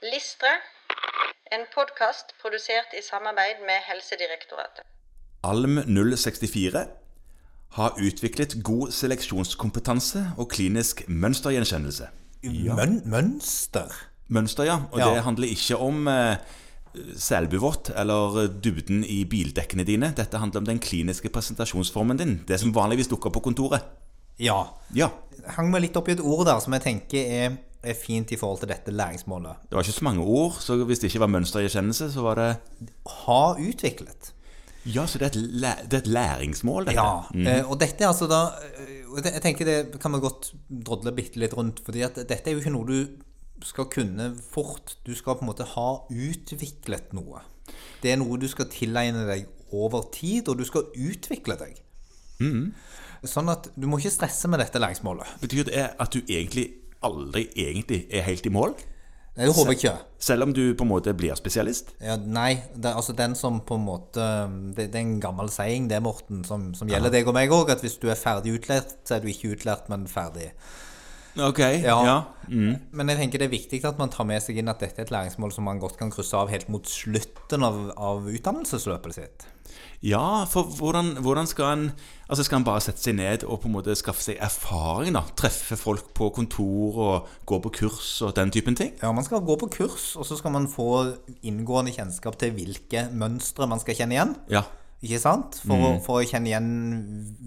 Listre, en podkast produsert i samarbeid med Helsedirektoratet. ALM064 har utviklet god seleksjonskompetanse og klinisk mønstergjenkjennelse. Møn mønster? Mønster, ja. Og Ja. det handler ikke om eh, selbuvott eller dybden i bildekkene dine. Dette handler om den kliniske presentasjonsformen din. Det som vanligvis dukker opp på kontoret. Ja. Ja, Hang meg litt opp i et ord der som jeg tenker er, er fint i forhold til dette læringsmålet. Det var ikke så mange ord, så hvis det ikke var mønstergjenkjennelse, så var det Ha utviklet. Ja, så det er et, læ det er et læringsmål, dette. Ja. eh, Og dette er altså da eh, og det- Jeg tenker det kan vi godt drodle bitte litt rundt, fordi at dette er jo ikke noe du skal kunne fort. Du skal på en måte ha utviklet noe. Det er noe du skal tilegne deg over tid, og du skal utvikle deg. Sånn at du må ikke stresse med dette læringsmålet. Betyr det at du egentlig aldri egentlig er helt i mål? Nei, Det håper jeg ikke. Selv om du på en måte blir spesialist? Ja, nei, det, altså den som på en måte Det, det er en gammel saying, det, Morten, som, som gjelder deg og meg òg. At hvis du er ferdig utlært, så er du ikke utlært, men ferdig. Ok, Ja. Men jeg tenker det er viktig at man tar med seg inn at dette er et læringsmål som man godt kan krysse av helt mot slutten av, av utdannelsesløpet sitt. Ja, for hvordan, hvordan skal en Altså Skal en bare sette seg ned og på en måte skaffe seg erfaring? da Treffe folk på kontor og gå på kurs og den typen ting? Ja, Man skal gå på kurs, og så skal man få inngående kjennskap til hvilke mønstre man skal kjenne igjen. Ja. Ikke sant? For, å, for å kjenne igjen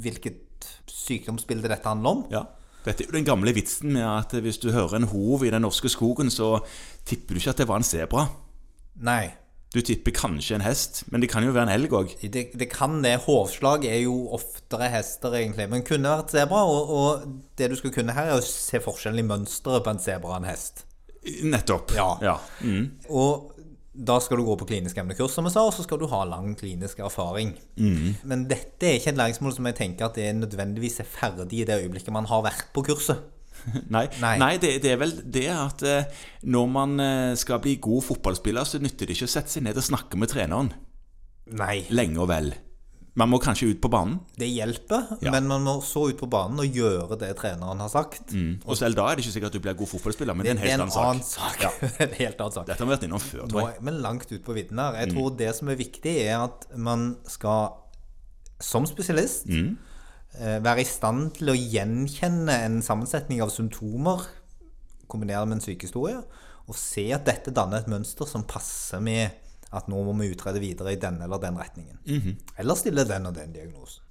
hvilket sykdomsbilde dette handler om. ja. Dette er jo den gamle vitsen med at hvis du hører en hov i den norske skogen, så tipper du ikke at det var en sebra. Nei. Du tipper kanskje en hest, men det kan jo være en elg òg. Det, det kan det. Hovslag er jo oftere hester, egentlig. Men kunne vært sebra. Og, og det du skal kunne her, er å se forskjellen i mønsteret på en sebra og en hest. Nettopp. Ja. ja. Mm. Og da skal du gå på klinisk emnekurs, som jeg sa, og så skal du ha lang klinisk erfaring. Mm. Men dette er ikke et læringsmål som jeg tenker at det er nødvendigvis er ferdig i det øyeblikket man har vært på kurset. Nei, Nei. Nei det, det er vel det at eh, når man eh, skal bli god fotballspiller, så nytter det ikke å sette seg ned og snakke med treneren Nei. lenge og vel. Man må kanskje ut på banen, Det hjelper, Ja. men man må så ut på banen og gjøre det treneren har sagt. og selv da er det ikke sikkert at du blir god fotballspiller, men Mm. det er en Det er helt en annen sak. annen sak. en helt annen sak. Dette har vi vært innom før, Nå tror jeg. er vi langt ut på vidden her. Jeg tror det som er viktig, er at man skal, som spesialist, eh, være i stand til å gjenkjenne en sammensetning av symptomer, kombinere med en sykehistorie, og se at dette danner et mønster som passer med at nå må vi utrede videre i denne eller den retningen. Eller stille den og den diagnosen.